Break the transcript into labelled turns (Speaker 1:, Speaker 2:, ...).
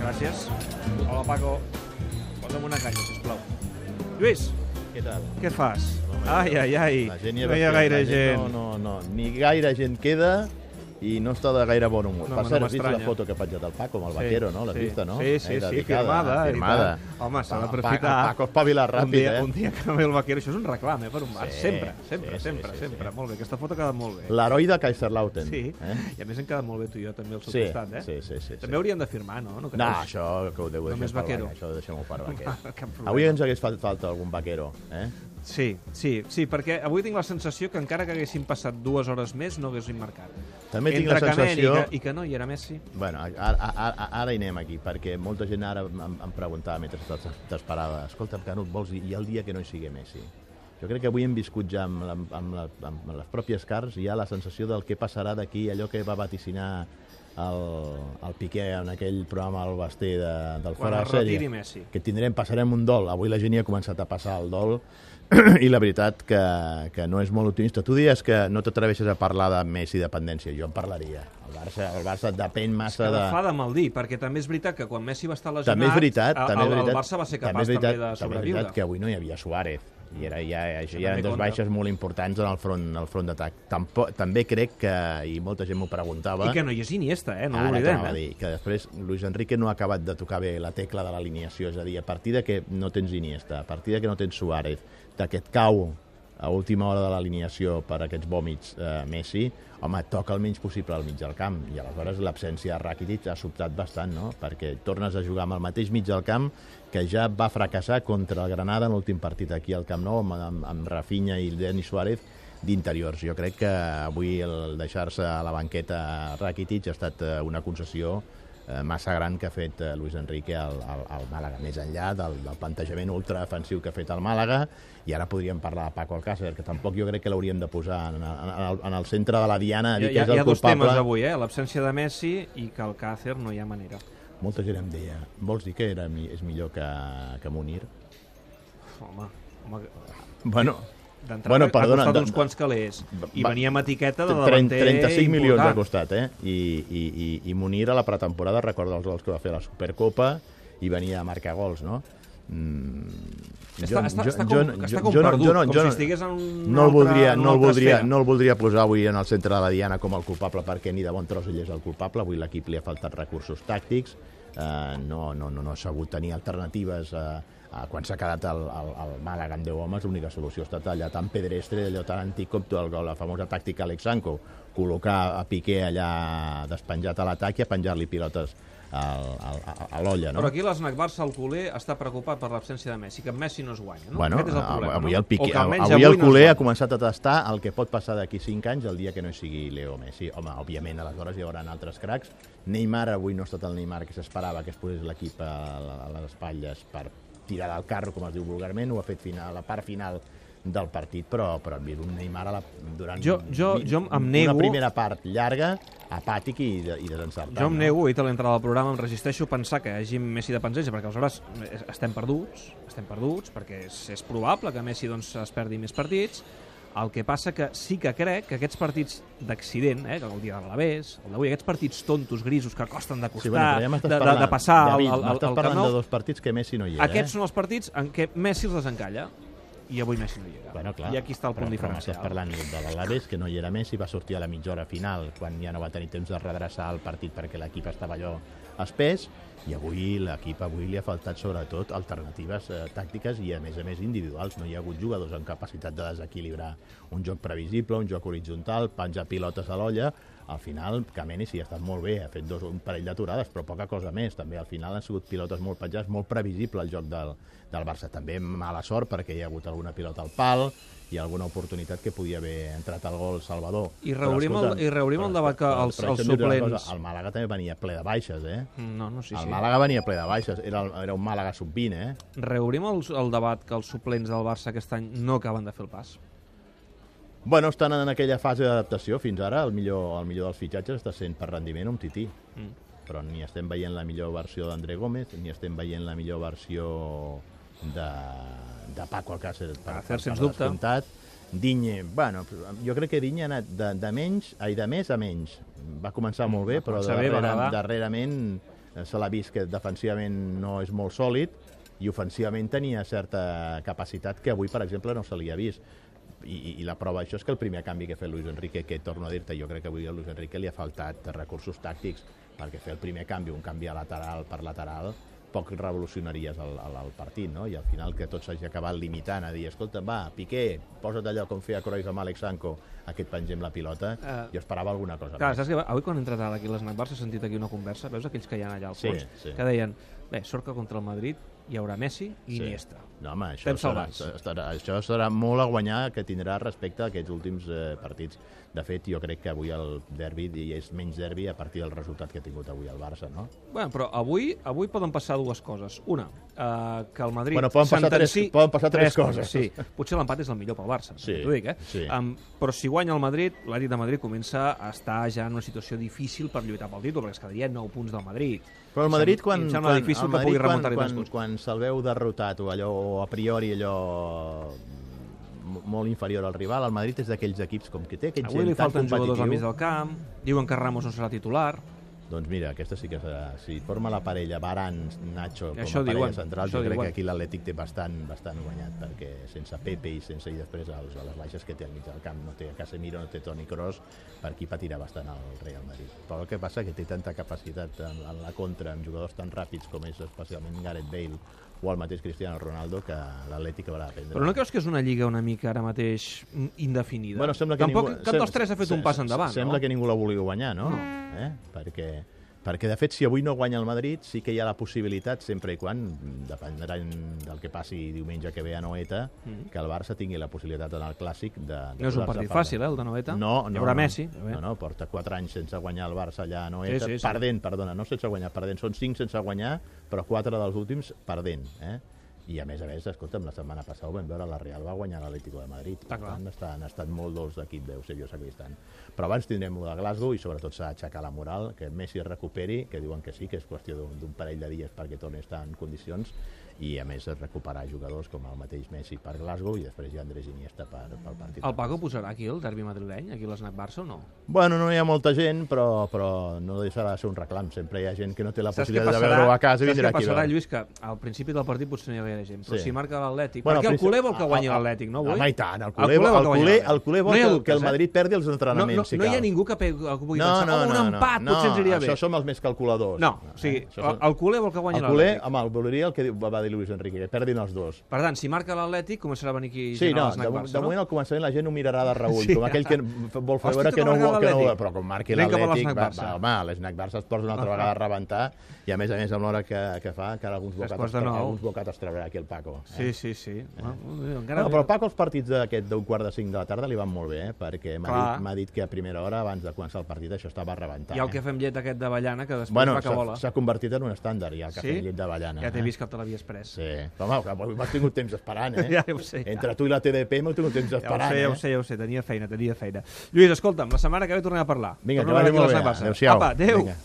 Speaker 1: gràcies. Hola, Paco. Posa'm una canya, sisplau. Lluís,
Speaker 2: Què tal?
Speaker 1: què fas?
Speaker 2: No, no,
Speaker 1: Ai, ai, ai.
Speaker 2: La gent ja
Speaker 1: No
Speaker 2: va
Speaker 1: hi ha
Speaker 2: fer-
Speaker 1: gaire
Speaker 2: la
Speaker 1: gent.
Speaker 2: No, no, no. Ni gaire gent queda i no està de gaire bon humor.
Speaker 1: No,
Speaker 2: per
Speaker 1: no
Speaker 2: cert, has vist la
Speaker 1: m'estranya.
Speaker 2: foto que ha penjat el Paco amb el vaquero, no? L'has
Speaker 1: sí,
Speaker 2: vista, no?
Speaker 1: Sí, sí, sí,
Speaker 2: Eh, dedicada,
Speaker 1: firmada. i
Speaker 2: firmada.
Speaker 1: tant. Home, s'ha
Speaker 2: Pa-
Speaker 1: d'aprofitar.
Speaker 2: El Paco espavila
Speaker 1: un
Speaker 2: ràpid,
Speaker 1: dia,
Speaker 2: eh?
Speaker 1: un dia que ve el vaquero, això és un reclam, eh, per un bar.
Speaker 2: Sí,
Speaker 1: sempre, sempre, sempre,
Speaker 2: sí, sí, sí,
Speaker 1: sempre.
Speaker 2: sí.
Speaker 1: Molt bé, aquesta foto ha quedat molt bé.
Speaker 2: L'heroi de Kaiserlauten.
Speaker 1: Sí,
Speaker 2: Eh?
Speaker 1: i a més hem quedat molt bé tu i jo també al seu
Speaker 2: Sí,
Speaker 1: costat, eh?
Speaker 2: sí, sí, sí, sí.
Speaker 1: També hauríem de firmar, no? No,
Speaker 2: No,
Speaker 1: creus?
Speaker 2: això que ho deu
Speaker 1: Només
Speaker 2: deixar per
Speaker 1: vaquero.
Speaker 2: vaquero. Això deixem-ho per vaquero.
Speaker 1: Cap problema.
Speaker 2: Avui ens hagués fet falta algun vaquero, eh?
Speaker 1: Sí, sí, sí, perquè avui tinc la sensació que encara que haguéssim passat dues hores més no haguéssim marcat.
Speaker 2: També tinc
Speaker 1: Entre
Speaker 2: la sensació-
Speaker 1: Camell i que, i que no, hi era Messi.
Speaker 2: Bueno, ara, ara, ara hi anem aquí, perquè molta gent ara em, em preguntava mentre t'es- t'esperava escolta, Canut, vols dir, i el dia que no hi sigui Messi? Jo crec que avui hem viscut ja amb, la, amb, la, amb les pròpies cars ja la sensació del què passarà d'aquí, allò que va vaticinar el, el Piqué en aquell programa al Basté de, del
Speaker 1: Quan
Speaker 2: Fora
Speaker 1: es
Speaker 2: de Sèrie.
Speaker 1: retiri Messi.
Speaker 2: Que tindrem, passarem un dol. Avui la gent ja ha començat a passar el dol i la veritat que, que no és molt optimista. Tu dies que no t'atreveixes a parlar de Messi dependència. Jo en parlaria. El Barça, el Barça depèn
Speaker 1: Que
Speaker 2: massa
Speaker 1: de...
Speaker 2: de...
Speaker 1: fa de mal dir, perquè també és veritat que quan Messi va estar lesionat...
Speaker 2: També és veritat.
Speaker 1: el,
Speaker 2: també és
Speaker 1: el-
Speaker 2: veritat,
Speaker 1: El Barça va ser
Speaker 2: també,
Speaker 1: capaç
Speaker 2: és veritat,
Speaker 1: també de
Speaker 2: també és
Speaker 1: sobreviure.
Speaker 2: veritat que avui no hi havia Suárez i era, ja, ja,
Speaker 1: Això
Speaker 2: ja eren
Speaker 1: també
Speaker 2: dues
Speaker 1: compta.
Speaker 2: baixes molt importants en el front, en el front d'atac. Tampoc- També crec que, i molta gent m'ho preguntava,
Speaker 1: I que no hi és Iniesta, eh? No
Speaker 2: Ara
Speaker 1: l'oblidem,
Speaker 2: t'anava a
Speaker 1: eh?
Speaker 2: dir que després Luis Enrique no ha acabat de tocar bé la tecla de l'alineació, és a dir, a partir de que no tens Iniesta, a partir de que no tens Suárez, de que et cau a última hora de l'alineació per aquests vòmits eh, Messi, home, toca el menys possible al mig del camp, i aleshores l'absència de Rakitic ha sobtat bastant, no? Perquè tornes a jugar amb el mateix mig del camp que ja va fracassar contra el Granada en l'últim partit aquí al Camp Nou, amb, amb, amb Rafinha i Denis Suárez, d'interiors. Jo crec que avui el deixar-se a la banqueta Rakitic ha estat eh, una concessió eh, massa gran que ha fet eh, Luis Enrique al, al, al Màlaga, més enllà del, del plantejament ultraofensiu que ha fet el Màlaga, i ara podríem parlar de Paco Alcácer, que tampoc jo crec que l'hauríem de posar en, en, en, el, en el centre de la diana,
Speaker 1: Hi,
Speaker 2: dir
Speaker 1: ha- hi
Speaker 2: que és el
Speaker 1: ha dos
Speaker 2: culpable.
Speaker 1: temes avui, eh? L'absència de Messi i que el Càcer no hi ha manera.
Speaker 2: Molta gent em deia, vols dir que era, mi- és millor que, que Munir?
Speaker 1: Home, home
Speaker 2: Bueno,
Speaker 1: d'entrada
Speaker 2: Bueno, perdona,
Speaker 1: ha costat
Speaker 2: de-
Speaker 1: uns quants calés i
Speaker 2: va-
Speaker 1: venia amb etiqueta de
Speaker 2: 30,
Speaker 1: davanter
Speaker 2: 35 milions ha
Speaker 1: important.
Speaker 2: costat, eh? I, i, i, i Munir a la pretemporada, recorda els gols que va fer a la Supercopa i venia a marcar gols, no? Mm,
Speaker 1: Està- està- està com- està com
Speaker 2: no-
Speaker 1: perdut,
Speaker 2: no-
Speaker 1: com
Speaker 2: jo
Speaker 1: si
Speaker 2: no-
Speaker 1: estigués en una
Speaker 2: no el
Speaker 1: altra-
Speaker 2: voldria,
Speaker 1: en una
Speaker 2: no el
Speaker 1: altra
Speaker 2: voldria,
Speaker 1: esfera.
Speaker 2: no el voldria posar avui en el centre de la Diana com el culpable perquè ni de bon tros ell és el culpable. Avui l'equip li ha faltat recursos tàctics, eh, no, no, no, no ha sabut tenir alternatives a, a quan s'ha quedat el, el, el Màlaga amb 10 homes, l'única solució ha estat allà tan pedrestre, allò tan antic com el, la famosa tàctica Alexanco, col·locar a Piqué allà despenjat a l'atac i a penjar-li pilotes al, al, a, a l'olla, no?
Speaker 1: Però aquí l'Snac Barça, el culer, està preocupat per l'absència de Messi, que amb Messi no es guanya, no?
Speaker 2: Bueno,
Speaker 1: Aquest és el problema,
Speaker 2: avui
Speaker 1: no?
Speaker 2: el,
Speaker 1: O
Speaker 2: Piqué,
Speaker 1: que
Speaker 2: avui,
Speaker 1: almenys
Speaker 2: avui el
Speaker 1: no es
Speaker 2: culer ha
Speaker 1: guanya.
Speaker 2: començat a tastar el que pot passar d'aquí 5 anys el dia que no hi sigui Leo Messi. Home, òbviament, aleshores hi haurà altres cracs. Neymar avui no ha estat el Neymar que s'esperava que es posés l'equip a, la- a les espatlles per tirar del carro, com es diu vulgarment, ho ha fet final, a la part final del partit, però, però hem vist un Neymar a la, durant
Speaker 1: Jo- jo- jo em nego-
Speaker 2: una primera part llarga, apàtic i, de, i desencertat.
Speaker 1: Jo em
Speaker 2: no?
Speaker 1: nego, he dit a l'entrada del programa, em resisteixo a pensar que hi hagi Messi de pensència, perquè aleshores eh, estem perduts, estem perduts, perquè és, és probable que Messi doncs, es perdi més partits, el que passa que sí que crec que aquests partits d'accident, eh, que el dia de l'Alavés, el d'avui, aquests partits tontos, grisos, que costen de costar,
Speaker 2: Sí, bueno, però ja m'estàs
Speaker 1: de, de,
Speaker 2: parlant,
Speaker 1: de passar al-
Speaker 2: David,
Speaker 1: al, al,
Speaker 2: m'estàs
Speaker 1: al Camp
Speaker 2: parlant
Speaker 1: Nou,
Speaker 2: de dos partits que Messi no hi era. eh?
Speaker 1: aquests són els partits en què Messi els desencalla, i avui Messi no hi era.
Speaker 2: Bueno, clar,
Speaker 1: I aquí està el punt
Speaker 2: però,
Speaker 1: diferencial.
Speaker 2: Però m'estàs parlant de l'Alaves, que no hi era Messi, va sortir a la mitja hora final, quan ja no va tenir temps de redreçar el partit perquè l'equip estava allò espès, i avui l'equip avui li ha faltat sobretot alternatives eh, tàctiques i a més a més individuals. No hi ha hagut jugadors amb capacitat de desequilibrar un joc previsible, un joc horitzontal, penjar pilotes a l'olla, al final, Kamenis hi ha estat molt bé, ha fet dos, un parell d'aturades, però poca cosa més. També al final han sigut pilotes molt petjades, molt previsible el joc del, del Barça. També mala sort perquè hi ha hagut alguna pilota al pal i alguna oportunitat que podia haver entrat al gol Salvador.
Speaker 1: I
Speaker 2: Però,
Speaker 1: reobrim el-
Speaker 2: escolta'm,
Speaker 1: i reobrim
Speaker 2: però,
Speaker 1: el debat que
Speaker 2: però,
Speaker 1: els-
Speaker 2: però
Speaker 1: els
Speaker 2: deixa'm dir-te una
Speaker 1: suplents-
Speaker 2: cosa, El Màlaga també venia ple de baixes, eh?
Speaker 1: No, no, sí,
Speaker 2: Sí,
Speaker 1: sí.
Speaker 2: el Màlaga venia ple de baixes, era, el- era un Màlaga sub-20, eh?
Speaker 1: Reobrim el, el debat que els suplents del Barça aquest any no acaben de fer el pas.
Speaker 2: Bueno, estan en aquella fase d'adaptació fins ara. El millor, el millor dels fitxatges està sent per rendiment un tití. Mm. Però ni estem veient la millor versió d'André Gómez, ni estem veient la millor versió de, de Paco Alcácer. Per,
Speaker 1: Alcácer, sens dubte.
Speaker 2: Descomptat. Digne, bueno, jo crec que Digne ha anat de, de menys, ai, de més a menys. Va començar molt bé,
Speaker 1: Mm, Va
Speaker 2: però
Speaker 1: començar bé, va
Speaker 2: darrere,
Speaker 1: agradar.
Speaker 2: darrerament eh, se l'ha vist que defensivament no és molt sòlid i ofensivament tenia certa capacitat que avui, per exemple, no se li ha vist. I, i la prova això és que el primer canvi que ha fet Luis Enrique, que torno a dir-te, jo crec que avui a Luis Enrique li ha faltat recursos tàctics perquè fer el primer canvi, un canvi a lateral per lateral, poc revolucionaries el, el, el partit, no? I al final que tot s'hagi acabat limitant a dir, escolta, va, Piqué, posa't allò com feia Cruyff amb Alex Sanko, aquest pengem la pilota,
Speaker 1: Eh,
Speaker 2: jo esperava alguna cosa
Speaker 1: Clar, saps que avui quan he entrat ara aquí a l'Snack Bar s'ha sentit aquí una conversa, veus aquells que hi ha allà al
Speaker 2: Sí,
Speaker 1: fons,
Speaker 2: sí.
Speaker 1: que deien, bé, sort que contra el Madrid hi haurà Messi i
Speaker 2: Sí.
Speaker 1: Iniesta.
Speaker 2: No, home, això
Speaker 1: Estem
Speaker 2: serà,
Speaker 1: salvats.
Speaker 2: estarà, això serà molt a guanyar que tindrà respecte a aquests últims eh, partits. De fet, jo crec que avui el derbi és menys derbi a partir del resultat que ha tingut avui el Barça, no?
Speaker 1: Bueno, però avui avui poden passar dues coses. Una, eh, que el Madrid
Speaker 2: Bueno, poden passar
Speaker 1: sentenci-
Speaker 2: tres- poden passar tres coses.
Speaker 1: Sí, potser l'empat és el millor pel Barça,
Speaker 2: Sí,
Speaker 1: t'ho dic, eh?
Speaker 2: sí.
Speaker 1: Em, però si guanya el Madrid, l'Atlètic de Madrid comença a estar ja en una situació difícil per lluitar pel títol, perquè es quedaria 9 punts del Madrid.
Speaker 2: Però el
Speaker 1: Em
Speaker 2: Madrid,
Speaker 1: sem-
Speaker 2: quan,
Speaker 1: Em sembla
Speaker 2: quan,
Speaker 1: difícil
Speaker 2: el
Speaker 1: que pugui
Speaker 2: Madrid, quan,
Speaker 1: remuntar-hi tres
Speaker 2: quan,
Speaker 1: punts.
Speaker 2: quan se'l veu derrotat o allò o a priori allò mo- molt inferior al rival, el Madrid és d'aquells equips com que té aquest
Speaker 1: Avui li
Speaker 2: gent tan
Speaker 1: falten jugadors al mig
Speaker 2: competitiu.
Speaker 1: del camp, diuen que Ramos no serà titular,
Speaker 2: Doncs mira, aquesta sí que serà... Si forma la parella Baran, Nacho, com
Speaker 1: Això
Speaker 2: a parella
Speaker 1: diuen,
Speaker 2: central,
Speaker 1: això
Speaker 2: jo crec
Speaker 1: diuen.
Speaker 2: que aquí l'Atlètic té bastant, bastant guanyat, perquè sense Pepe i sense i després els, les baixes que té al mig del camp, no té Casemiro, no té Toni Kroos, per aquí patirà bastant el Real Madrid. Però el que passa que té tanta capacitat en, en la contra, amb jugadors tan ràpids com és especialment Gareth Bale o el mateix Cristiano Ronaldo, que l'Atlètic haurà d'aprendre.
Speaker 1: Però no creus que és una lliga una mica ara mateix mm, indefinida?
Speaker 2: Bueno, sembla que
Speaker 1: Tampoc
Speaker 2: ningú...
Speaker 1: cap dels
Speaker 2: sem-
Speaker 1: tres ha fet un
Speaker 2: se-
Speaker 1: pas
Speaker 2: se-
Speaker 1: endavant,
Speaker 2: Sembla
Speaker 1: no?
Speaker 2: que ningú la vulgui guanyar, no? Eh? Perquè, perquè, de fet, si avui no guanya el Madrid, sí que hi ha la possibilitat, sempre i quan, mm, dependrà del que passi diumenge que ve a Noeta, que el Barça tingui la possibilitat en el Clàssic de... de
Speaker 1: Mm. No és un
Speaker 2: posar-se
Speaker 1: partit
Speaker 2: per-
Speaker 1: fàcil, eh, el de Noeta?
Speaker 2: No, no.
Speaker 1: Hi haurà
Speaker 2: no,
Speaker 1: Messi. eh?
Speaker 2: No, no, no, porta 4 anys sense guanyar el Barça allà a Noeta,
Speaker 1: Sí, sí, sí.
Speaker 2: perdent, perdona, no sense guanyar, perdent, són 5 sense guanyar, però 4 dels últims perdent, eh? I a més a més, escolta'm, la setmana passada ho vam veure, la Real va guanyar l'Atlético de Madrid. Per
Speaker 1: clar.
Speaker 2: tant, estan, han estat molt dolç d'equip de Eusebio Sacristán. Però abans tindrem lo de Glasgow i sobretot s'ha d'aixecar la moral, que Messi es recuperi, que diuen que sí, que és qüestió d'un d'un parell de dies perquè torni a estar en condicions, i a més es recuperar jugadors com el mateix Messi per Glasgow i després ja Andrés Iniesta per, pel partit.
Speaker 1: El Paco posarà aquí el derbi madrileny, aquí a l'Snac Barça o no?
Speaker 2: Bueno, no hi ha molta gent, però, però no deixarà de ser un reclam. Sempre hi ha gent que no té la
Speaker 1: Saps què
Speaker 2: possibilitat de
Speaker 1: passarà,
Speaker 2: veure-ho a casa i
Speaker 1: saps
Speaker 2: vindrà
Speaker 1: què
Speaker 2: aquí. a
Speaker 1: passarà,
Speaker 2: veure.
Speaker 1: Lluís? Que al principi del partit potser no hi havia gent, però
Speaker 2: Sí.
Speaker 1: si marca l'Atlètic...
Speaker 2: Bueno,
Speaker 1: perquè
Speaker 2: al
Speaker 1: el culer
Speaker 2: principi-
Speaker 1: vol que guanyi
Speaker 2: a- a-
Speaker 1: l'Atlètic, no?
Speaker 2: ah. Home,
Speaker 1: Avui?
Speaker 2: i tant, el
Speaker 1: culer
Speaker 2: culer,
Speaker 1: vol
Speaker 2: el
Speaker 1: que guanyi
Speaker 2: culer,
Speaker 1: l'Atlètic.
Speaker 2: el culer
Speaker 1: No
Speaker 2: vol
Speaker 1: hi ha
Speaker 2: que, que
Speaker 1: dubtes,
Speaker 2: el Madrid perdi els
Speaker 1: eh? no,
Speaker 2: entrenaments.
Speaker 1: no,
Speaker 2: si
Speaker 1: no hi ha
Speaker 2: cal.
Speaker 1: ningú que, pe... que pugui pensar "Oh, un empat
Speaker 2: no,
Speaker 1: potser ens aniria
Speaker 2: això
Speaker 1: bé.
Speaker 2: som els més calculadors.
Speaker 1: No, o sigui,
Speaker 2: eh, això som-
Speaker 1: el culer vol que guanyi
Speaker 2: el culer,
Speaker 1: l'Atlètic.
Speaker 2: home, el volaria el que diu- va va dir Luis Enrique, que perdin els dos.
Speaker 1: Per tant, si marca l'Atlètic, començarà a venir aquí
Speaker 2: Sí,
Speaker 1: gent a
Speaker 2: no, de,
Speaker 1: l'Snac
Speaker 2: mo- de
Speaker 1: Barça,
Speaker 2: moment
Speaker 1: no?
Speaker 2: al començament la gent ho mirarà de reull,
Speaker 1: Sí.
Speaker 2: com aquell que vol fer
Speaker 1: Hosti,
Speaker 2: veure
Speaker 1: que
Speaker 2: que no,
Speaker 1: marca
Speaker 2: ho- que no,
Speaker 1: l'Atlètic.
Speaker 2: però com marqui
Speaker 1: Vinga, per
Speaker 2: l'Atlètic,
Speaker 1: l'esnac
Speaker 2: va,
Speaker 1: Barça.
Speaker 2: va, home, l'esnac Barça es posa una altra
Speaker 1: Ah,
Speaker 2: vegada a rebentar i a més a més amb l'hora que, que fa, que ara alguns
Speaker 1: Tres
Speaker 2: bocats,
Speaker 1: quarts
Speaker 2: es
Speaker 1: de
Speaker 2: tra-
Speaker 1: nou.
Speaker 2: alguns bocats es traurà aquí el Paco. eh?
Speaker 1: Sí, sí, sí. Bueno, encara...
Speaker 2: No, però el Paco els partits d'aquest d'un quart de cinc de la tarda li van molt bé, eh? perquè m'ha
Speaker 1: Clar.
Speaker 2: dit, m'ha dit que a primera hora, abans de començar el partit, això estava a rebentar.
Speaker 1: I el
Speaker 2: eh?
Speaker 1: que fem llet aquest de ballana, que després
Speaker 2: Bueno,
Speaker 1: va que
Speaker 2: s'ha-
Speaker 1: vola.
Speaker 2: s'ha convertit en un estàndard, ja, el cafè sí? llet de ballana.
Speaker 1: Ja t'he
Speaker 2: eh?
Speaker 1: vist que te l'havies pres.
Speaker 2: Sí. Però, home, que avui m'has tingut temps esperant, eh?
Speaker 1: Ja ho sé, ja.
Speaker 2: Entre tu i la TDP m'heu tingut temps
Speaker 1: Ja ho
Speaker 2: esperant,
Speaker 1: sé, ja ho
Speaker 2: eh?
Speaker 1: sé, ja ho sé, tenia feina, tenia feina. Lluís, escolta'm, la setmana que ve tornem a parlar.
Speaker 2: Vinga,
Speaker 1: Tornem
Speaker 2: que vagi
Speaker 1: aquí a
Speaker 2: molt
Speaker 1: les
Speaker 2: bé.
Speaker 1: Barça.
Speaker 2: Adéu-siau.
Speaker 1: Apa, adéu.
Speaker 2: Vinga.